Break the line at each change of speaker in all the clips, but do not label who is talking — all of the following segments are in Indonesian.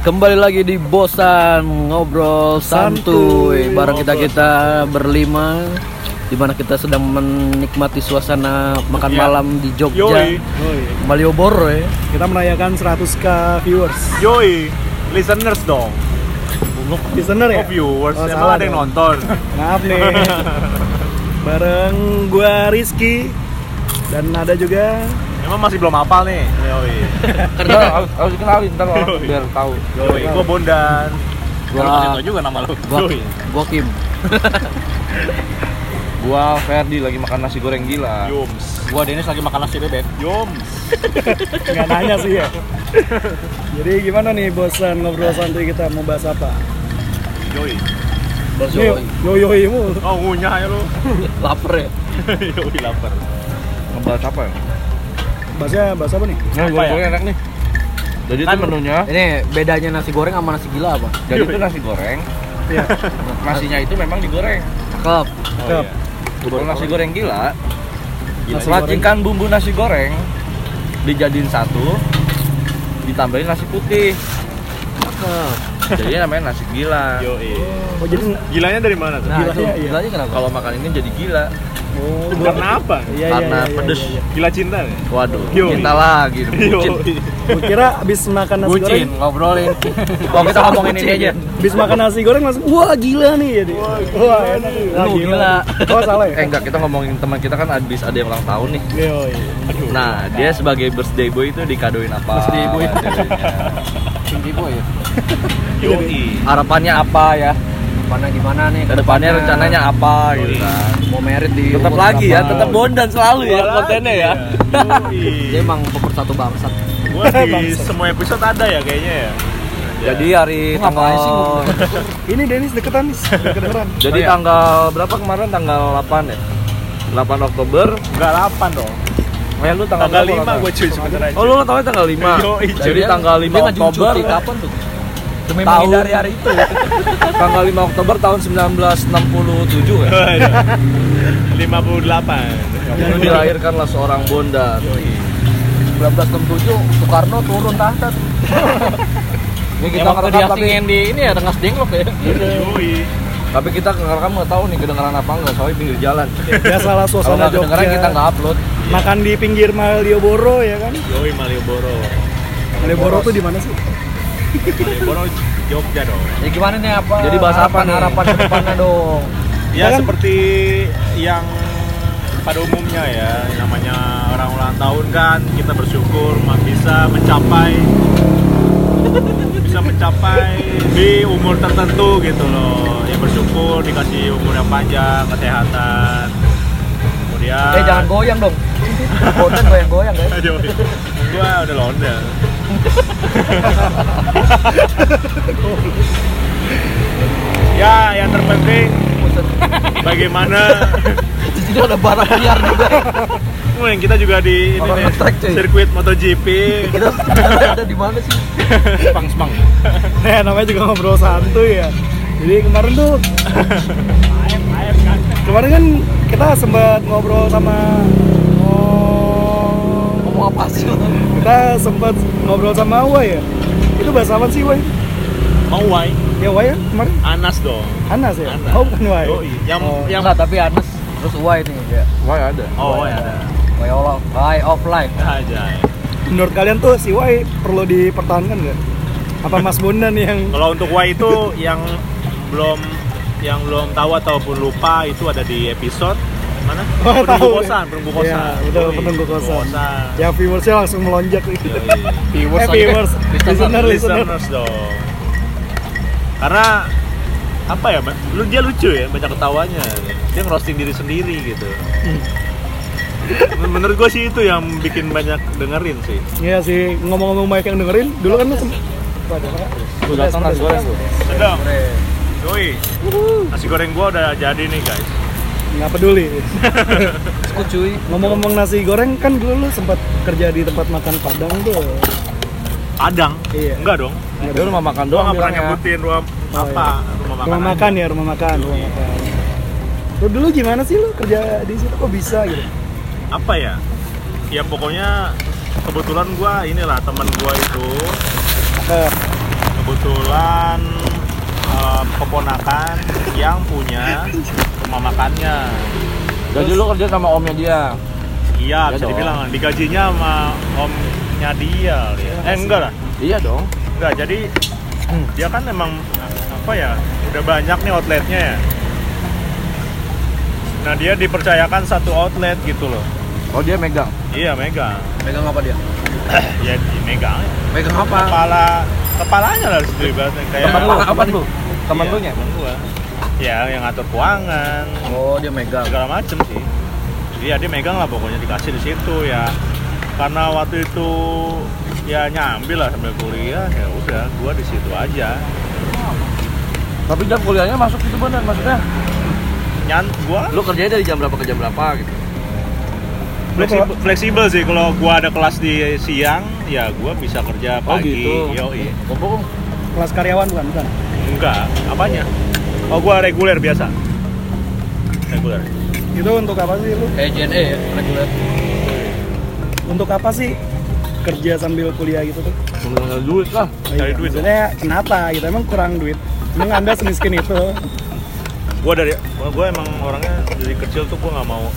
Kembali lagi di Bosan Ngobrol Santuy
Santuy,
Bareng kita
ngobrol
kita berlima Dimana kita sedang menikmati suasana makan
Ya.
Iya.
malam di Jogja
Yoi.
Yoi.
Malioboro ya
Kita merayakan 100k viewers.
Yoi, listeners dong.
Listener ya?
Oh viewers,
Oh,
emang
salah
ada yang
dong.
nonton.
Maaf nih. Bareng gua Rizky dan ada juga
Emang masih belum hafal nih. Yoi.
Ya.
Ntar harus, harus dikenalin ntar orang
Yoi.
biar tahu.
Yoi, gua Bondan.
Gua,
juga nama lu.
gua, gua Kim
Gua Ferdi lagi makan nasi goreng gila.
Yums.
Gua Dennis lagi makan nasi bebek.
Yums.
nggak nanya sih ya. Jadi gimana nih bosan ngobrol santuy kita mau bahas apa? Yo
Yoi.
Berjoy
yo yo mulu.
Oh ngunyah ya lu.
Laper ya
Yoi lapar.
Ngebahas apa ya?
Bahasnya bahas apa nih?
Nasi
ya?
goreng enak nih. Jadi itu
Kan-
menunya.
Ini bedanya nasi goreng sama nasi gila apa?
Yoi.
Jadi itu nasi goreng.
Iya.
Nasinya itu memang digoreng.
Cakep
Oh, iya.
Cakep.
Kalau nasi goreng gila,
Nasi
racikan bumbu nasi goreng dijadiin satu, ditambahin nasi putih.
Cakep
Jadi namanya nasi gila.
Yoi.
Oh jadi
Gilanya dari mana tuh?
Nah
Gilanya,
itu
iya.
gilanya kenapa?
Kalau makan ini jadi gila.
oh, gua-
Karena apa?
Iya, iya,
Karena
iya, iya,
pedes.
iya, iya.
Gila cinta nih.
Waduh,
Yoi.
kita lagi bucin.
Yoi.
Gua kira abis makan nasi goreng,
ngobrolin
Kalau kita ngomongin ini aja.
abis makan nasi goreng langsung wah gila nih jadi. Wah, enak nih. Wah,
Lu
Oh salah ya?
Eh enggak, kita ngomongin teman kita kan abis ada yang ulang tahun nih.
Yo, iya.
Aduh.
Nah, dia sebagai birthday boy itu dikadoin apa? Iya.
Birthday boy.
jadinya?
Tinggi boy ya
Yoi.
Harapannya apa ya?
Mana gimana nih
Kedepannya rencananya apa gitu kan?
Mau merit di
Tetap
umur
lagi ya,
berapa?
tetap bondan selalu ya kontennya ya.
Iya.
Iya.
Dia
Yoi.
emang pemersatu bangsat
Gua di semua episode ada ya kayaknya ya.
Jadi hari
Lu ngapain sih
tanggal
ngomongin?
Ini Denis deketan nih, udah kedengeran.
Jadi
Oh, iya.
tanggal berapa kemarin tanggal 8 ya? 8 Oktober.
Enggak 8 dong.
Eh lu tanggal,
Tanggal
berapa
5
ulang
gua cuy sebentar
tahun?
aja.
Oh lu ulang tahunnya tanggal 5.
Yoi,
Jadi tanggal 5
Dia ngajuin
Oktober.
cuti kapan tuh? Demi
Tahun.
menghindari hari itu
Tanggal 5 Oktober tahun 1967 ya.
Waduh. 58
Dulu dilahirkanlah seorang bondan.
1967 Soekarno turun tahta tuh Ini kita
Emang
ngerekam tapi
kediasingin
di ini ya tengah denglok ya
Yoi
Tapi kita ngerekam nggak tahu nih kedengeran apa nggak soalnya pinggir jalan.
Ya salah
Kalau
suasana
nggak kedengeran
Jogja.
kita nggak upload.
Makan di pinggir Malioboro ya kan?
Yoi Malioboro
Malioboro tuh di mana sih?
Malioboro Jogja dong
Ya gimana nih apa?
Jadi bahas apa
harapan,
nih?
Harapan ke depannya dong
Ya
Kita kan-
seperti yang pada umumnya ya Namanya orang ulang tahun kan Kita bersyukur ma- bisa mencapai Bisa mencapai di umur tertentu gitu loh Ya bersyukur dikasih umur yang panjang, kesehatan Kemudian
Eh jangan goyang dong Boten goyang-goyang guys
Aduh, gua udah londa. ya, yang terpenting bagaimana
Jadi ada barang liar juga
Mungkin kita juga di ini
Orang
nih,
nge-track, cuy.
sirkuit MotoGP.
Kita ada di mana sih?
Spang spang.
Eh namanya juga ngobrol santuy ya. Jadi kemarin tuh kemarin kan kita sempat ngobrol sama oh,
Ngomong apa sih? lu?
kita sempat ngobrol sama Wai ya. Itu bahasa apa sih Wai?
Mau why?
Ya Wai ya kemarin
Anas dong.
Anas ya?
Anas.
Oh bukan Wai.
Yoi. Yang
Oh.
yang
Enggak tapi Anas Terus Uwai nih ya.
Wah ada.
Oh, ya ada.
Way of, way of life
Aja.
Menurut kalian tuh si Wai perlu dipertahankan nggak? Apa Mas Bondan yang
Kalau untuk why itu yang belum yang belum tahu ataupun lupa itu ada di episode mana?
Oh,
penunggu
tahu.
kosan, penunggu kosan.
Iya, betul,
Yoi,
penunggu kosan.
kosan.
ya viewersnya langsung melonjak gitu?
Yoi.
Eh, viewers, listener, listener.
listeners dong karena apa ya Mbak? lu dia lucu ya banyak ketawanya dia ngerosting diri sendiri gitu
Hmm.
Men- menurut gue sih itu yang bikin banyak dengerin sih
Iya sih, ngomong-ngomong banyak yang dengerin, dulu kan lu sem- Waduh,
Lu datang nasi goreng lu.
sedang doi nasi goreng gue udah jadi nih guys
nggak peduli.
Skut cuy
Ngomong-ngomong nasi goreng kan dulu lu sempat kerja di tempat makan Padang tuh.
padang
Iya.
enggak dong
Dia rumah makan
gue
doang
nggak pernah
bilangnya.
nyebutin rumah
Oh,
apa rumah makan
Rumah makan ya, rumah makan,
Iya.
rumah makan. Lu dulu gimana sih lu kerja di situ kok bisa gitu?
apa ya ya pokoknya kebetulan gue inilah teman gue itu
Eh,
kebetulan eh, keponakan yang punya rumah makannya.
Jadi lu kerja sama omnya dia.
Iya,
Iya
bisa
dong.
dibilang digajinya sama omnya dia. ya. Eh enggak lah,
Iya dong.
enggak. Jadi dia kan emang apa ya? Udah banyak nih outletnya ya. Nah dia dipercayakan satu outlet gitu loh.
Oh dia megang.
Iya megang.
Megang apa dia?
Ya megang.
Megang apa?
Kepala kepalanya lah harus dilibatkan kayak
Temen lu,
apa
temen
nih?
lu. Temen
Iya,
lu nya.
temen gua. Ya yang ngatur keuangan
Oh, dia megang.
segala macem sih. Jadi ya dia megang lah pokoknya dikasih di situ ya. Karena waktu itu ya nyambil lah sambil kuliah ya udah gua di situ aja.
Tapi jam kuliahnya masuk itu benar maksudnya.
Nyan gua
Lu kerjanya dari jam berapa ke jam berapa gitu.
fleksibel, fleksibel sih kalau gua ada kelas di siang ya gua bisa kerja
Oh,
pagi.
gitu.
Yoi.
Kobong.
Kelas karyawan bukan? Bukan.
Enggak, apanya? Oh gua reguler biasa. Reguler.
Itu untuk apa sih lu?
Kayak JNE ya, reguler.
Untuk apa sih kerja sambil kuliah gitu tuh? Iya,
Ngomongin duit lah.
Cari duit dong.
Maksudnya kenapa gitu? Emang kurang duit? Emang anda semiskin itu?
gue dari gue emang orangnya dari kecil tuh gue nggak mau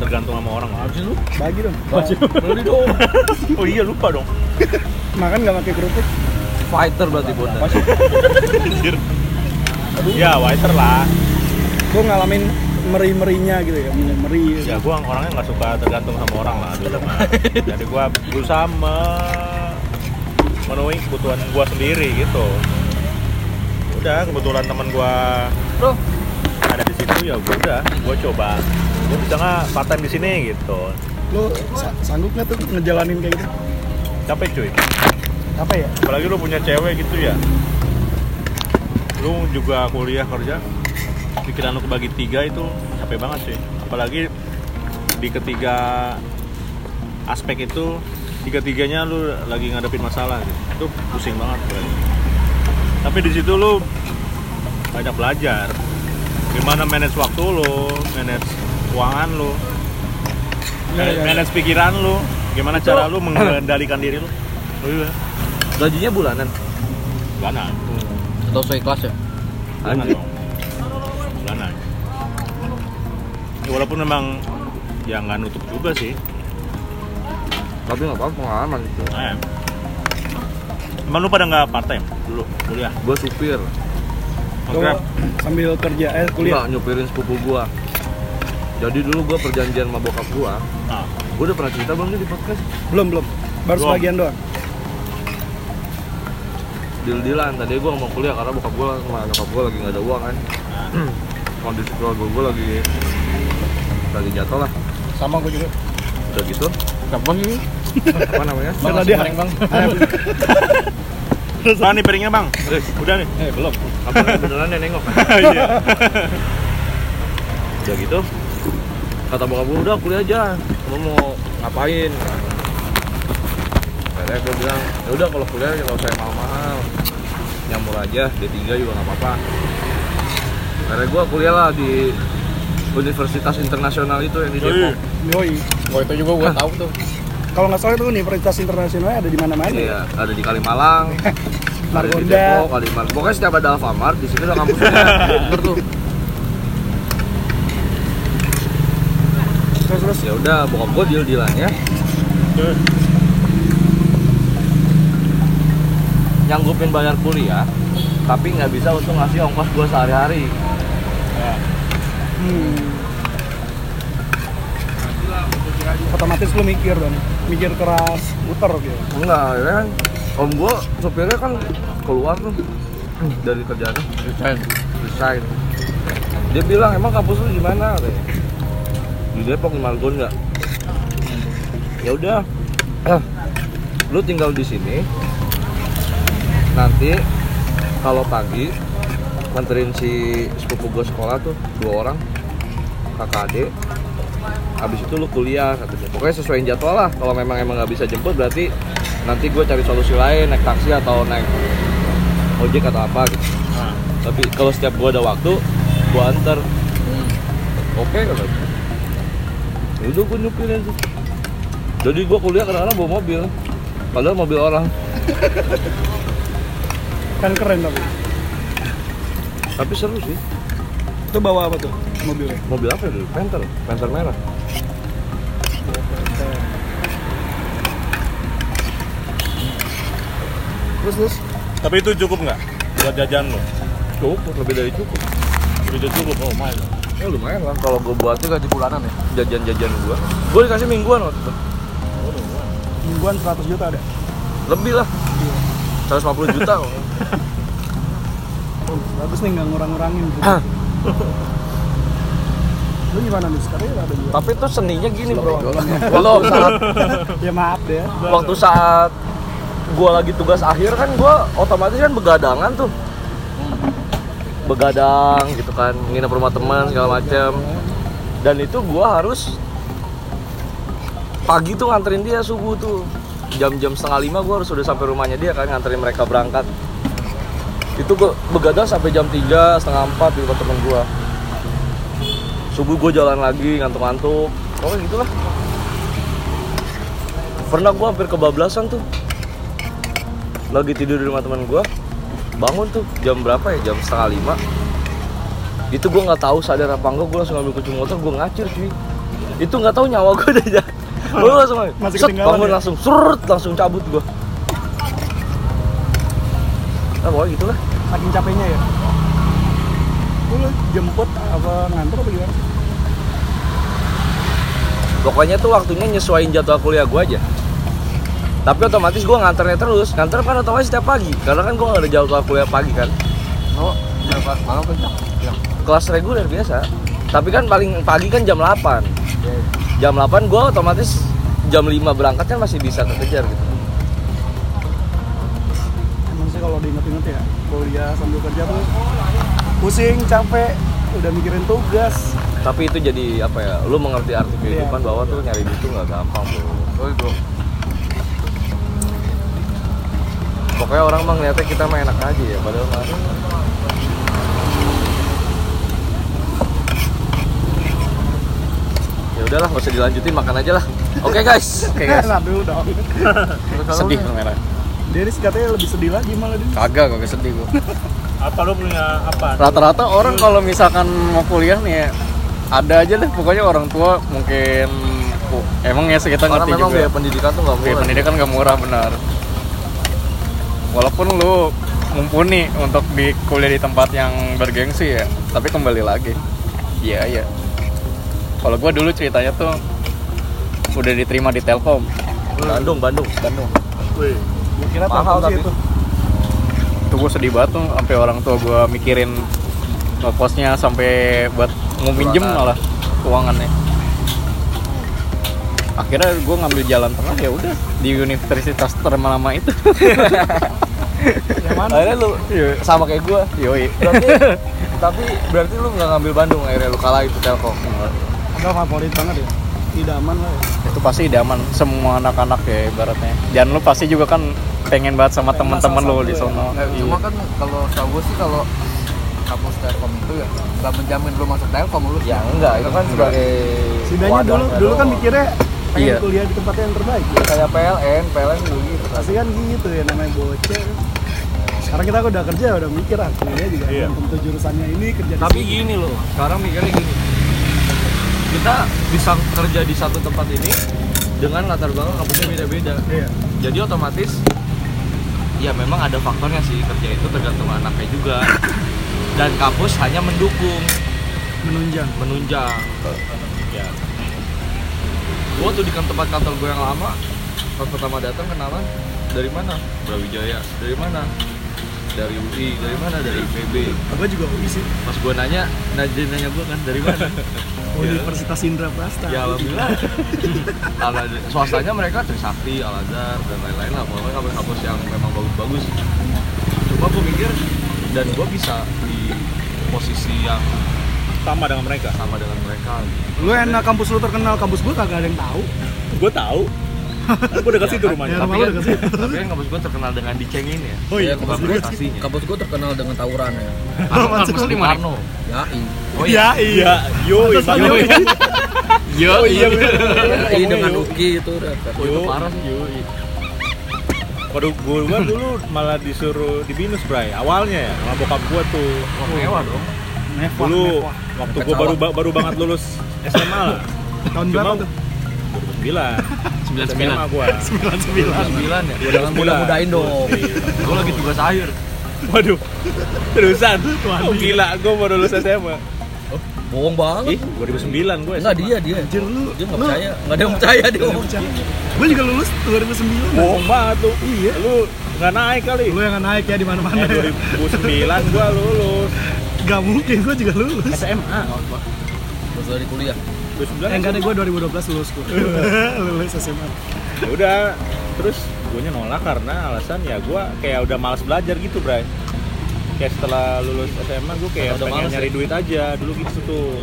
tergantung sama orang lah.
Habis lu.
Bagi dong.
Beli dong.
oh iya lupa dong
Makan nggak pakai kerupuk?
Fighter berarti bunda.
Anjir. ya waiter lah
Gue ngalamin meri-merinya gitu ya, meri.
ya gue orangnya nggak suka tergantung sama orang lah dulu mah jadi gue berusaha me- memenuhi kebutuhan gue sendiri gitu udah kebetulan teman gue
Bro.
ada di situ ya gue udah gue coba gue bisa nggak part time di sini gitu
Lu sa- sanggup nggak tuh ngejalanin kayak gitu?
capek cuy
Apa ya?
apalagi lu punya cewek gitu ya lu juga kuliah kerja pikiran lu kebagi tiga itu capek banget sih apalagi di ketiga aspek itu tiga tiganya lu lagi ngadepin masalah gitu itu pusing banget berarti. tapi di situ lu banyak belajar gimana manage waktu lu manage keuangan lu
Iya, iya.
manage pikiran lu gimana
Itu-
cara lu mengendalikan diri lu Oh iya, lu juga
Gajinya bulanan.
bulanan
Atau sesuai kelas ya?
bulanan
Anjir.
dong bulanan Ya, walaupun memang ya nggak nutup juga sih
Tapi nggak apa-apa pengalaman itu.
nah, emang lu pada nggak part time dulu kuliah
Gua supir.
Lu
Nge-grab?
sambil kerja eh kuliah.
Nggak, nyupirin sepupu gua. Jadi dulu gua perjanjian sama bokap gua.
Nah,
Gua udah pernah cerita belum sih di podcast?
Belum, belum. Baru
Belum.
sebagian doang.
deal-dealan tadi gua nggak mau kuliah karena bokap gua sama nyokap gua lagi nggak ada uang kan kondisi keluarga gua lagi lagi jatuh lah
Sama gue juga.
udah gitu
Kapan ini?
apa namanya
Bang, nasi
goreng, Bang.
Bang, nih piringnya bang udah nih
Eh, belum.
apa beneran ya nengok
Iya.
udah gitu kata bokap gua udah kuliah aja lu mau ngapain akhirnya gua bilang ya udah kalau kuliah nggak usah yang mahal-mahal yang murah aja D3 juga nggak apa-apa akhirnya gua kuliah lah di Universitas Internasional itu yang di Depok
Yoi.
Gua itu juga gua tahu tuh.
Kalau nggak salah itu universitas internasionalnya ada di mana-mana. ya.
Iya, ada di Kalimalang, ada di
Margonda.
Depok, ada di Mar- Pokoknya setiap ada Alfamart, di sini ada kampusnya. Bener tuh.
Terus terus
Ya udah, bokap gua deal ya. dealannya
Terus?
nyanggupin bayar kuliah, tapi nggak bisa untuk ngasih ongkos gua sehari-hari.
Hmm. Otomatis lu mikir dong, mikir keras, puter gitu.
Enggak, ya kan. Om gua sopirnya kan keluar tuh dari kerjaannya,
Desain.
resign. Dia bilang, "Emang kampus lu di mana?" katanya. Di Depok di Margonda. Ya udah. lu tinggal di sini. Nanti kalau pagi nganterin si sepupu gue sekolah tuh dua orang kakak adik habis itu lu kuliah katanya. pokoknya sesuaiin jadwal lah kalau memang emang nggak bisa jemput berarti nanti gue cari solusi lain naik taksi atau naik ojek atau apa gitu
Nah,
tapi kalau setiap gua ada waktu gua antar Hmm. oke kata dia. Ya udah gua nyupir aja jadi gua kuliah kadang-kadang bawa mobil padahal mobil orang
Kan keren tapi.
tapi seru sih
Itu bawa apa tuh mobilnya?
mobil apa ya dulu Panther Panther merah terus terus
Tapi itu cukup nggak buat jajan lo?
cukup lebih dari cukup
Udah cukup, oh my God.
ya lumayan lah kalau gue buatnya gaji bulanan ya jajan-jajan gue gue dikasih mingguan waktu itu
Mingguan 100 juta ada.
lebih lah 150 juta kok.
Oh, bagus nih nggak ngurang-ngurangin. Lu gimana nih? Sekarang ada juga.
Tapi tuh seninya gini bro.
belum saat
Ya maaf deh.
Waktu saat gue lagi tugas akhir kan gue otomatis kan begadangan tuh.
begadang gitu kan nginep rumah teman segala macem dan itu gua harus pagi tuh nganterin dia subuh tuh jam-jam setengah lima gua harus udah sampai rumahnya dia kan nganterin mereka berangkat itu gua begadang sampai jam tiga setengah empat di rumah temen gua subuh gua jalan lagi ngantuk-ngantuk pokoknya gitu lah pernah gua hampir kebablasan tuh lagi tidur di rumah teman gua bangun tuh jam berapa ya jam setengah lima itu gue nggak tahu sadar apa enggak gue langsung ngambil kunci motor gue ngacir cuy itu nggak tahu nyawa gue udah jatuh gue langsung
Masih
set,
ketinggalan
bangun
ya?
langsung surut langsung cabut gue nah pokoknya gitu lah
Saking capeknya ya. Lu jemput apa ngantor apa gimana?
pokoknya tuh waktunya nyesuaiin jadwal kuliah gue aja tapi otomatis gue nganternya terus nganter kan otomatis setiap pagi karena kan gue gak ada jadwal kuliah pagi kan
Oh, berapa malam kerja?
kelas reguler biasa tapi kan paling pagi kan jam 8
Iya.
jam 8 gue otomatis jam 5 berangkatnya masih bisa kekejar gitu
Emang sih kalau diinget-inget ya, kuliah sambil kerja tuh pusing, capek, udah mikirin tugas.
tapi itu jadi apa ya lu mengerti arti kehidupan bahwa tuh nyari duit tuh nggak gampang bro
Iya. Oh, bro.
pokoknya orang mah ngeliatnya kita mah enak aja ya padahal mah ya udahlah nggak usah dilanjutin makan aja lah oke Iya, guys
Oke guys,
Nah, dulu dong.
sedih lu merah.
Deris katanya lebih sedih lagi malah dia.
Kagak kok sedih gua.
Apa lo punya apa?
Rata-rata orang kalau misalkan mau kuliah nih ya, ada aja deh pokoknya orang tua mungkin oh, emang ya kita
karena
ngerti
memang
juga.
biaya pendidikan tuh nggak
Biaya
murah
pendidikan nggak murah benar. Walaupun lu mumpuni untuk di kuliah di tempat yang bergengsi ya, tapi kembali lagi. Iya, iya. Kalau gua dulu ceritanya tuh udah diterima di Telkom
Bandung Bandung
Bandung.
Wih,
Gua kira
Mahal
takut sih
tapi.
itu.
Tuh gua sedih banget tuh sampai orang tua gua mikirin ngekosnya sampai buat mau minjem
Keuangan.
malah keuangannya. Akhirnya gua ngambil jalan tengah ya udah di universitas terlama itu.
Yang mana?
akhirnya lu
iya,
sama kayak gua
Yoi.
berarti tapi berarti lu nggak ngambil Bandung akhirnya lu kalah itu Telkom
Padahal favorit banget ya. Idaman lah ya.
itu pasti idaman semua anak-anak ya ibaratnya dan lu pasti juga kan pengen banget sama
Pengen
temen-temen
masa
lu
satu
di
ya.
sono
Nggak,
Iya.
cuma kan kalau tau gue sih kalau kampus Telkom itu ya nggak menjamin lu masuk Telkom lu
ya enggak itu kan sebagai
Setidaknya dulu
wadah
dulu kan
doang.
mikirnya pengen
Iya.
kuliah di tempat yang terbaik. Ya.
kayak PLN PLN dulu gitu
Pasti kan gitu ya namanya bocah. Sekarang kita udah kerja udah mikir ah kuliah juga
Iya.
belum tentu jurusannya ini kerja di
Tapi gitu.
sini.
gini loh, sekarang mikirnya gini. Kita bisa kerja di satu tempat ini dengan latar belakang kampusnya beda-beda.
Iya.
Jadi otomatis ya memang ada faktornya sih kerja itu tergantung anaknya juga. Dan kampus hanya mendukung,
menunjang.
menunjang.
ya.
Gue tuh di kan tempat kantor gue yang lama, pas pertama datang kenalan dari mana? Brawijaya. Dari mana? Dari UI. Dari mana? Dari IPB.
Gue juga UI sih.
Pas gue nanya, Najin nanya gue kan dari mana?
Universitas Indra Prasta.
Ya alhamdulillah. Alhamdulillah. Swastanya mereka Trisakti, Al Azhar dan lain-lain lah. Pokoknya kampus-kampus yang memang bagus-bagus. Cuma gue mikir dan gue bisa di posisi yang
Sama dengan mereka.
sama dengan mereka.
Lu enak kampus lu terkenal, kampus gua kagak ada yang tahu.
Gue tahu. Kan gue dekat situ rumahnya.
Ya, rumah lu
Tapi kan,
dekat situ.
tapi kan kampus gue terkenal dengan dicengin ya.
Oh iya,
bukan
kampus lu.
prestasinya.
Kampus gue terkenal dengan tawuran ya.
Kampus lu di mana?
Soekarno.
Yai.
Oh iya.
Iya, iya. Yo,
Pantes lu
iya.
UI.
Yo,
Iya, bener.
Yai dengan Uki itu udah.
Oh, itu parah sih.
Waduh, gue dulu malah disuruh di binus, Bray. Awalnya ya, sama bokap gue tuh.
Wah, mewah dong.
Mewah,
Dulu,
mewah.
waktu
Deket
gue baru
sawah.
baru banget lulus SMA lah.
Tahun
Cuma-
berapa tuh?
2009. 99. SMA gue.
99.
9 ya.
Jangan mudah-mudain dong.
Gue lagi tugas akhir.
Waduh, terusan. Oh, gila, gue baru lulus SMA.
Bohong banget.
Ih, 2009 gue
Enggak dia dia.
Anjir lu.
Dia nggak percaya. Nggak ada yang percaya dia. ngomong.
Gue juga lulus 2009.
Bohong banget lu. Iya. Lu nggak naik kali.
Lu yang nggak naik ya di mana-mana.
Eh, 2009 gue lulus.
Gak mungkin gue juga lulus.
SMA.
Terus dari kuliah.
2009
Eh, Enggak deh
SMA.
gue 2012 lulus gue. lulus SMA.
Ya udah terus gue nolak karena alasan ya gue kayak udah malas belajar gitu bray kayak setelah lulus SMA gue kayak
Udah
pengen
males ya?
nyari duit aja dulu gitu tuh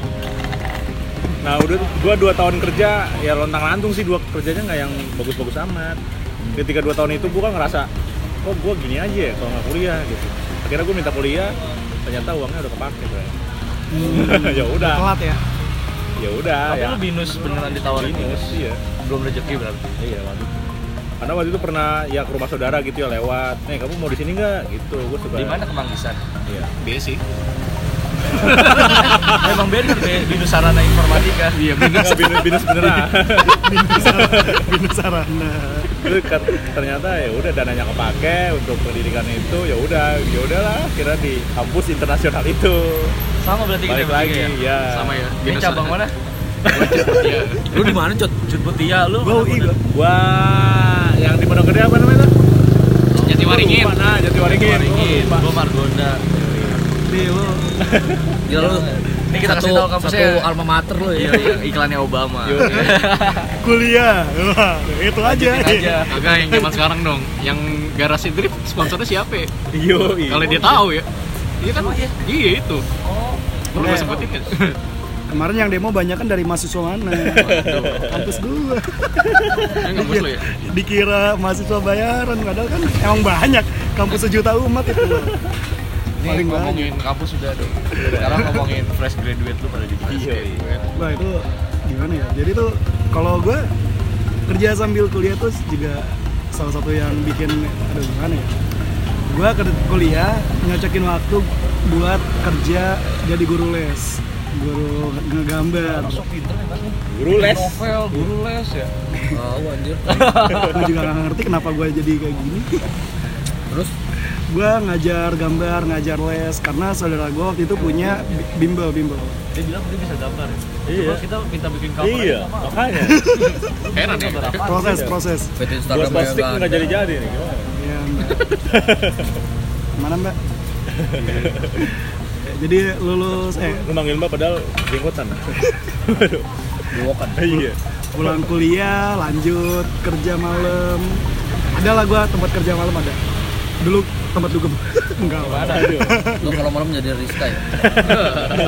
nah udah gue dua tahun kerja ya lontang lantung sih dua kerjanya nggak yang bagus-bagus amat
Hmm.
ketika dua tahun itu gue kan ngerasa oh gue gini aja ya kalau nggak kuliah gitu akhirnya gue minta kuliah ternyata uangnya udah kepake bray
Hmm.
ya udah
Telat ya.
ya udah ya
binus beneran ditawarin
Binus, iya
Belum rezeki berarti.
Iya waduh. Karena waktu itu pernah ya ke rumah saudara gitu ya lewat. Nih kamu mau di sini nggak? Gitu, gue suka.
Di mana kemanggisan?
Iya.
sih
Emang beda di binus sarana informatika. Iya,
Nggak, binus, binus beneran.
Pindah sarana.
Terus kat- ternyata ya udah dananya kepake untuk pendidikan itu ya udah ya udahlah kira di kampus internasional itu
Sama berarti
balik
bertiga
lagi ya.
sama ya
Ini cabang mana?
Lu di mana, Cot?
Cut Butia lu.
Gua UI gua. Gua yang di Pondok Gede apa namanya?
Jatiwaringin.
Gua lupa, Nah, Jatiwaringin.
Waringin,
Gua lupa.
gua Margonda.
Gila Iya, lu.
Ini kita kasih
satu-
tahu kampusnya.
Satu alma mater lu ya.
Iya, iya, iklannya Obama.
Yo, iya.
Kuliah. Wah, itu aja.
Lanjutin aja.
Agak yang zaman sekarang dong, yang garasi drift sponsornya siapa? ya?
Yo, iya.
Kalau dia tahu ya, iya kan? Iya itu.
Oh.
Perlu
Iya.
Eh,
gue sebutin kan?
Kemarin yang demo banyak kan dari mahasiswa mana? Kampus gue.
Yang
Iya.
ngebut lo ya?
Dikira mahasiswa bayaran, padahal kan emang banyak. Kampus sejuta umat itu.
Ini
Paling
ngomongin kampus sudah dong. Sekarang ngomongin
Iya,
fresh graduate lu pada di fresh
Iya, iya.
graduate.
Wah itu gimana ya? Jadi tuh kalau gue kerja sambil kuliah tuh juga salah satu yang bikin aduh gimana ya? Gue kuliah nyocokin waktu buat kerja jadi guru les, guru ngegambar.
guru les.
ya. Novel, guru les ya.
Tahu anjir.
gue juga gak ngerti kenapa gue jadi kayak gini.
Terus
Gue ngajar gambar, ngajar les karena saudara gue waktu itu punya bi- bimbel bimbel.
Dia bilang dia bisa gambar ya.
Iya.
kita minta bikin
Iya, makanya.
Heran ya.
Ah,
Proses proses.
PT
Gua
Instagram kan.
plastik nggak
ada.
jadi-jadi nih. Gimana?
Iya, Mbak. Mana Mbak? Jadi lulus eh
lu manggil mbak padahal jenggotan waduh
Diwokan.
iya
pulang kuliah, lanjut kerja malam. Ada lah gua tempat kerja malam ada. Dulu tempat dugem. Enggak lah.
aduh
Lu kalau malam jadi Rizka ya.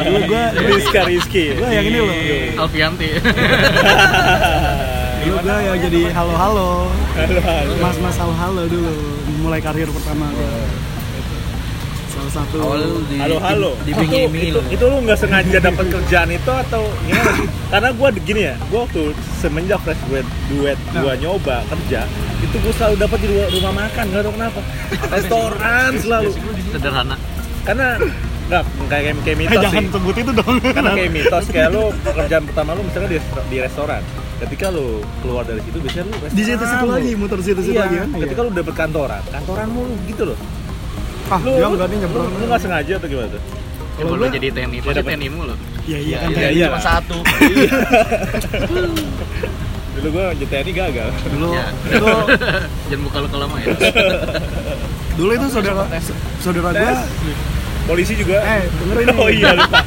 Dulu gua
Rizka Rizky
gua yang ini loh.
Alfianti.
Dulu gua yang jadi halo-halo. Mas-mas halo-halo dulu mulai karir pertama gua. Salah satu Eh,
Awalnya lu di
halo halo
di
itu,
pinggir-pinggir
itu,
lu.
itu lu nggak sengaja dapat kerjaan itu atau gimana sih karena gua gini ya gua waktu semenjak fresh duet duet
Nah.
gua nyoba kerja itu gua selalu dapat di rumah- rumah makan nggak tau kenapa restoran selalu
Sederhana.
karena nggak kayak kayak-
Eh,
kayak mitos
jangan
sih
sebut itu dong.
karena kayak mitos kayak lu pekerjaan pertama lu misalnya di, di restoran ketika lu keluar dari situ biasanya lu
Di situ-situ
restoran
lagi,
lu.
Ah, muter situ-situ
iya,
lagi kan. Iya.
ketika lu dapet kantoran, kantoran mulu gitu loh.
Ah,
Lu,
dia
lu,
enggak nih
lu,
nyebrang.
lu gak sengaja atau gimana tuh?
Ya
Kalau
kalau
gua-
jadi TNI, pasti
dapat.
TNI mulu.
Iya, iya kan.
Iya,
Iya,
iya.
Cuma satu.
Dulu gua jadi TNI gagal.
Dulu
Ya.
itu
Jangan buka lo lama
Iya,
ya.
dulu itu saudara saudara gue
Tes. Polisi juga.
eh dengerin nih
oh iya lupa.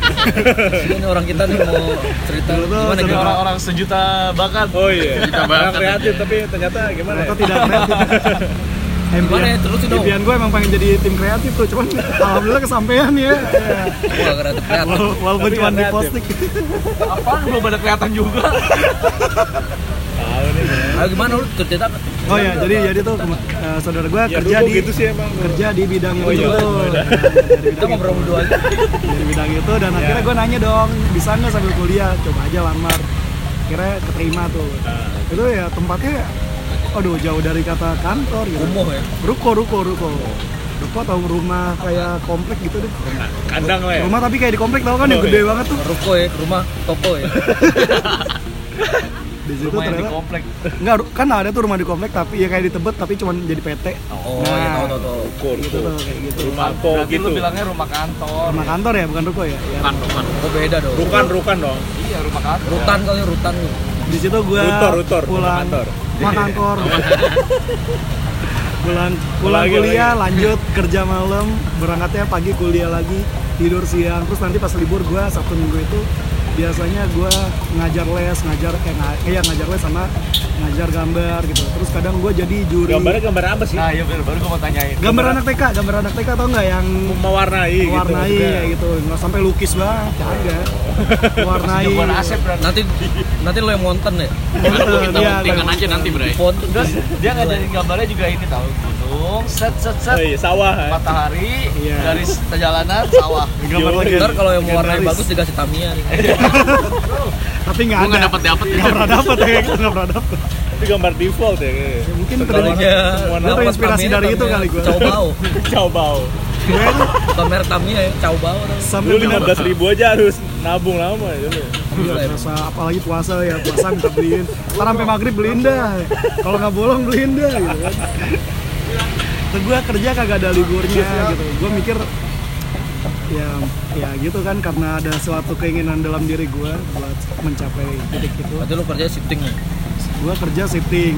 Iya nih orang kita nih mau cerita
Dulu tuh
gimana
saudara-
Ini
gimana.
orang-orang sejuta bakat.
Oh iya.
Kita
Orang
banget aja.
kreatif tapi ternyata gimana
ternyata
ya?
tidak kreatif
Gimana ya,
impian
terusin dong.
impian gue emang pengen jadi tim kreatif tuh cuman alhamdulillah kesampaian ya Ya.
Wah, kreatif kreatif.
Wal- walaupun
Tapi
cuma di
kreatif.
posting
Apaan belum ada kelihatan juga.
Tahu nih.
Ayo gimana lu cerita?
oh ya jadi jadi tuh kema- eh, saudara gue
Ya
kerja
dulu
di
gitu sih emang.
kerja di bidang
Oh
itu
iya,
tuh.
oh iya.
Nah,
Kita
dari bidang
ngobrol berdua Iya. aja.
dari bidang itu dan akhirnya gue nanya dong bisa nggak sambil
Ah.
kuliah coba aja lamar akhirnya keterima tuh itu ya tempatnya aduh jauh dari kata kantor gitu
kumuh ya
ruko ruko ruko ruko atau rumah kayak komplek gitu deh
kandang lah ya
rumah tapi kayak di komplek tau kan yang
Oh,
gede
iya.
banget tuh
ruko ya rumah toko ya
di situ
rumah yang di
ternyata
komplek
nggak ru- kan ada tuh rumah di komplek tapi ya kayak di tebet tapi cuma jadi PT
oh ya
Nah.
tahu tahu tahu
gitu tuh kayak gitu
rumah po
Berarti
gitu
lu bilangnya rumah kantor.
rumah kantor ya bukan ruko ya, ya.
oh beda dong
rukan rukan dong
Iya,
ya
rumah kantor.
rutan kali rutan
di situ gua
Rutor, rutor, rumah
pulang
kantor.
rumah kantor pulang pulang
Lagi,
kuliah lanjut kerja malam berangkatnya pagi kuliah lagi tidur siang terus nanti pas libur gua sabtu minggu itu biasanya gua ngajar les ngajar eh, nga- eh, ya, ngajar les sama ngajar gambar gitu terus kadang gua jadi juri
gambarnya gambar apa sih
Nah, iya bener, baru gue mau tanyain.
gambar anak TK gambar anak TK tau nggak yang
mewarnai gitu
warnai kayak gitu nggak sampai lukis banget kagak
Iya,
warnai
Jagoan Asep berarti.
nanti nanti lo yang monten ya
Gitu, iya, kayak-
aja nanti bro
di font
Terus dia ngajarin gambarnya juga ini tahu gunung, set set set.
Oh iya, sawah ya.
Matahari,
Iya.
garis jalanan, sawah.
gambar lagi
ntar kalau yang warnanya
Legendaris.
bagus dikasih Tamiya nih
Iya. tapi nggak ada
Gue nggak dapet dapet
nggak
Iya,
pernah dapet ya nggak pernah dapet
itu gambar default ya kayaknya.
Ya, mungkin
Sekalinya
Gua terinspirasi dari itu kali gua.
Cao kan bau
Cabau.
Pamer Tamiya ya, cao bau dong
sampai
Dulu lima belas ribu aja harus nabung lama dulu.
puasa apalagi puasa ya puasa minta beliin ntar sampai maghrib beliin dah kalau nggak bolong beliin dah gitu kan Terus gue kerja kagak ada liburnya gitu gue mikir ya ya gitu kan karena ada suatu keinginan dalam diri gue buat mencapai titik itu
Berarti lu kerja shifting nih
gue kerja shifting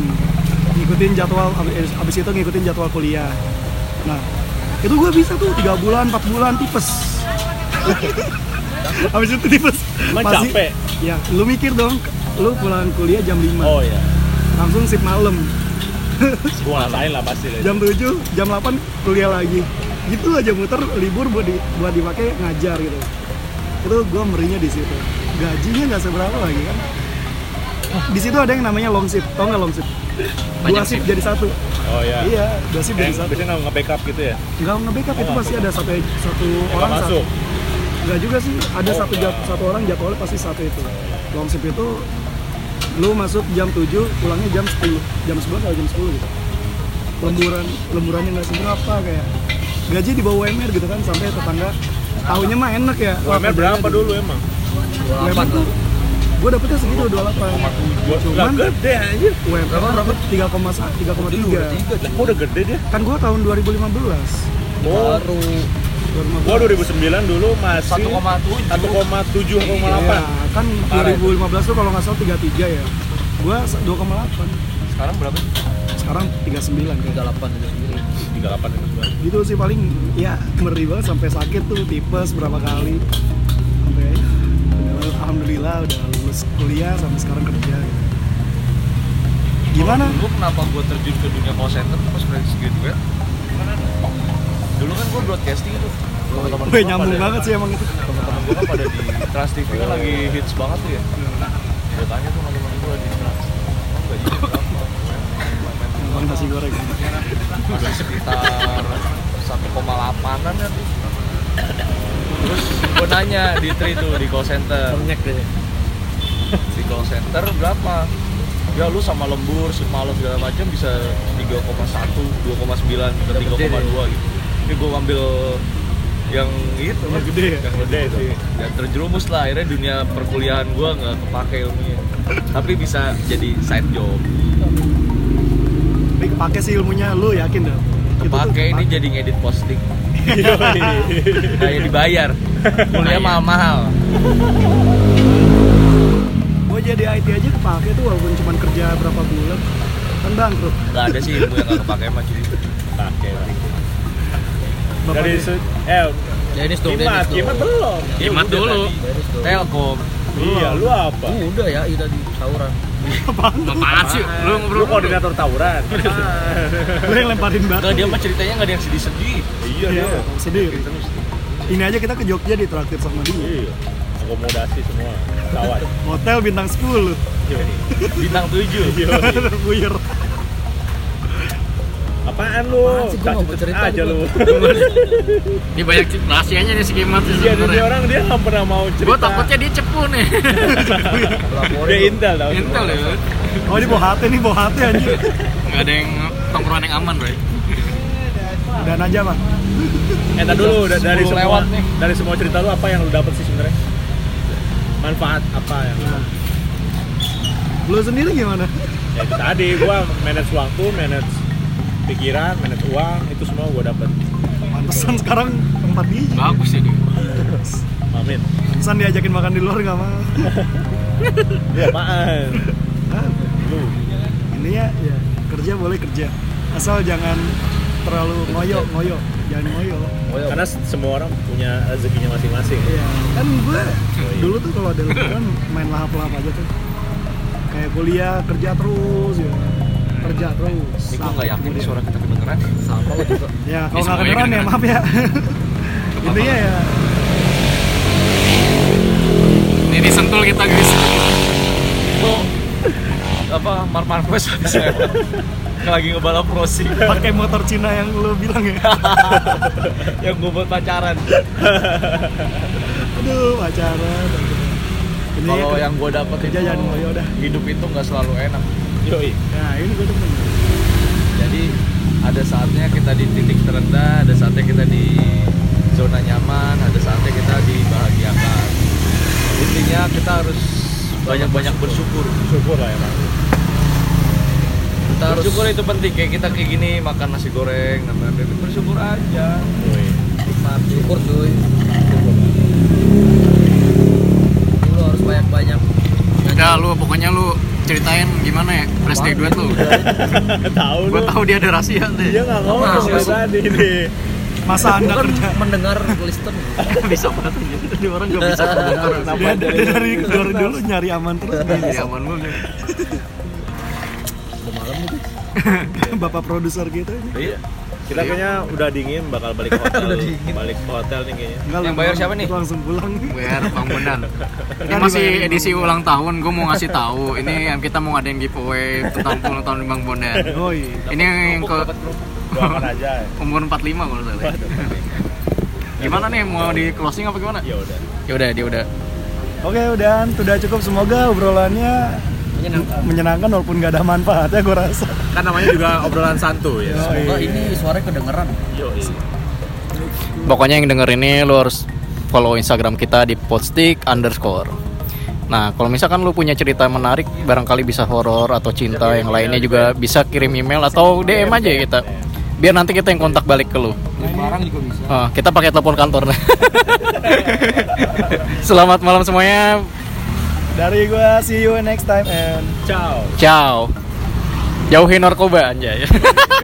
ngikutin jadwal abis, abis itu ngikutin jadwal kuliah nah itu gue bisa tuh tiga bulan empat bulan tipes abis itu tipes
Emang capek?
ya lu mikir dong lu pulang kuliah jam 5
Oh iya,
langsung shift malam
gua ngerasain lah pasti lah.
jam 7 jam 8 kuliah lagi gitu aja muter libur buat di, buat dipakai ngajar gitu itu gue merinya di situ gajinya nggak seberapa lagi kan di situ ada yang namanya long shift tau nggak long shift dua shift jadi satu
Oh iya.
Iya, dua shift jadi
Kayak
satu.
biasanya nggak nge-backup gitu ya?
Enggak nge-backup itu pasti ada satu satu
Nggak
orang satu.
masuk.
Enggak juga sih, ada
Oh,
satu
enggak.
jad- satu orang jadwalnya pasti satu itu. Long shift itu lu masuk jam 7, pulangnya jam 10. Jam 11 atau jam 10 gitu. Lemburan, lemburannya nggak seberapa kayak gaji di bawah UMR gitu kan sampai tetangga tahunya mah enak ya.
UMR berapa dulu emang?
UMR tuh gue dapetnya segitu 28
Gua
Cuman-
lah gede anjir.
UMR berapa? 3,1, 3,3
Lah, Gua udah gede dia.
Kan gue tahun 2015
Oh,
Baru
gua 2009 dulu masih
1,7.
1,7,8.
Iya, kan 2015 tuh kalau nggak salah 33 ya. Gua 2,8.
Sekarang berapa?
Sekarang 39 kayak.
38 itu sendiri
38 itu gua.
Gitu sih paling ya ngeri banget sampai sakit tuh tipes berapa kali. Sampai ya, alhamdulillah udah lulus kuliah sampai sekarang kerja. Gimana?
Dulu kenapa gue terjun ke dunia call center pas freelance gitu ya? Dulu kan gue broadcasting itu. Teman-teman
Gue
gua
nyambung
pada-
banget sih emang itu.
Teman-teman gue kan pada di Trans TV kan lagi hits banget tuh ya. Gue tanya tuh teman-teman gue di Trans. "Emang gitu? gajinya berapa?"
Makan nasi goreng.
masih sekitar 1,8an ya tuh terus gue nanya di tri tuh di call center
Banyak deh
di call center berapa ya lu sama lembur semalam segala macam bisa 3,1 2,9 dan 3,2 gitu ini gue ambil yang itu
Yang gede ya?
yang gede itu
Iya.
dan terjerumus lah akhirnya dunia perkuliahan gue nggak kepake ilmunya tapi bisa jadi side job
Tapi kepake sih ilmunya lu yakin dong. Itu tuh
kepake ini jadi ngedit posting kayak dibayar kuliah mahal-mahal
Gue jadi IT aja kepake tuh walaupun cuma kerja berapa bulan. Kan bangkrut.
nggak ada sih ilmu yang nggak kepake mah cuy
Pakai lah.
Bapak
Dari
dia-
se- eh
Dennis tuh
Kimat,
Dennis tuh
Kimat belum.
Jimat dulu
Dennis tuh
telkom
Iya, lu apa?
Udah ya, udah di tawuran
Apaan sih Lu
Lu
ngobrol
koordinator tawuran.
Gue yang lemparin batu.
nggak dia mah ceritanya nggak ada yang sedih-sedih
Iya,
Iya,
dia.
sedih. Ini aja kita ke Jogja ditraktir sama dia.
Iya. Akomodasi semua. Tawar.
Hotel bintang 10.
bintang tujuh
Buyur.
Apaan lu?
Apaan sih? Gua nggak mau
Bacot
cerita gitu?
aja
nih,
lu.
Ini banyak ci- rahasianya nih skema tuh
Iya, ini
sebenarnya.
orang dia nggak pernah mau cerita. Iya,
Gue takutnya dia cepu nih.
dia intel tau.
Intel ya.
Oh ini bawa hati nih, bawa hati anjir.
Gak ada yang tongkrongan yang aman, Bray.
Dan aja mah.
Eh, tar dulu da- dari
10
semua
lewat nih.
dari semua cerita lu apa yang lu dapat sih sebenarnya? Manfaat apa yang?
Nah.
Lu sendiri gimana?
Ya itu tadi gua manage waktu, manage pikiran, manage uang, itu semua gua dapat.
Pantesan sekarang tempat biji.
Bagus ya dia.
Amin.
Pantesan diajakin makan di luar nggak mau.
Lu apaan?
Hah?
Lu.
Intinya ya kerja boleh kerja, asal jangan terlalu ngoyo ngoyo, jangan ngoyo.
Oh, iya.
Karena s- semua orang punya rezekinya masing-masing.
Iya. Kan gue dulu tuh kalau ada liburan main lahap-lahap aja tuh. Kayak kuliah kerja terus ya. Kerja terus.
Ini gue nggak yakin nih suara kita kedengeran.
Sampah lo juga.
Ya, kalau nggak
Ini semuanya
kedengeran ya
kedengeran.
maaf ya. Intinya ya
Ini disentul kita, guys.
Lo apa Mar Marquez habis lewat. lagi ngebalap crossing
pakai motor Cina yang lu bilang ya.
yang gue buat pacaran.
Aduh, pacaran. Ini
Kalau yang gue dapet
kerja
itu ya
jangan ngoyo dah.
hidup itu nggak selalu enak.
Yoi.
Nah, ini gue temen.
Jadi ada saatnya kita di titik terendah, ada saatnya kita di zona nyaman, ada saatnya kita dibahagiakan. Intinya kita harus banyak-banyak bersyukur.
Syukur lah emang.
Kita harus bersyukur itu penting. Kayak kita kayak gini makan nasi goreng, namanya bebek bersyukur aja.
Yoi.
Nikmati.
Syukur cuy. Lu harus banyak-banyak.
Udah lu pokoknya lu ceritain gimana ya press day duet lu.
Iya. Tahu lu. Iya,
Gue tahu dia ada rahasia
Dia
deh.
nggak
Oh,
ngomong
iya,
Masuk,
dari
masuk.
tadi nih.
Masa Anda kerja
kan mendengar listen.
bisa banget aja. Ini orang gak bisa terbongkar.
dia, dia dari dari dulu nyari aman terus
Jadi Iya, aman lu deh.
bapak produser gitu
Iya. Kita kayaknya udah dingin bakal balik ke hotel. balik ke hotel nih kayaknya.
Enggak,
Yang
lu
bayar
pulang-
siapa nih?
lu langsung pulang
Biar bangunan. Ini masih edisi ulang tahun, gue mau ngasih tahu. Ini kita mau ngadain giveaway tentang ulang tahun Bang Bondan.
oh iya
Ini yang ke
Doakan aja.
umur 45 kalau nggak salah. Gimana nih mau di closing apa gimana?
Ya udah.
Ya udah, dia udah.
oke udah sudah cukup semoga obrolannya menyenangkan, walaupun nggak ada manfaatnya gue rasa
Kan namanya juga obrolan santuy ya.
Oh,
Wah,
iya.
ini suaranya kedengeran.
Yoi.
Pokoknya yang denger ini lo harus follow Instagram kita di postik underscore. Nah, kalau misalkan lu punya cerita menarik, barangkali bisa horor atau cinta yang lainnya juga bisa kirim email atau DM aja ya kita. Biar nanti kita yang kontak balik ke lu.
Barang juga bisa.
Ah, kita pakai telepon kantor. Selamat malam semuanya.
dari gue see you next time and
Ciao.
Ciao. Jauhi narkoba anjay.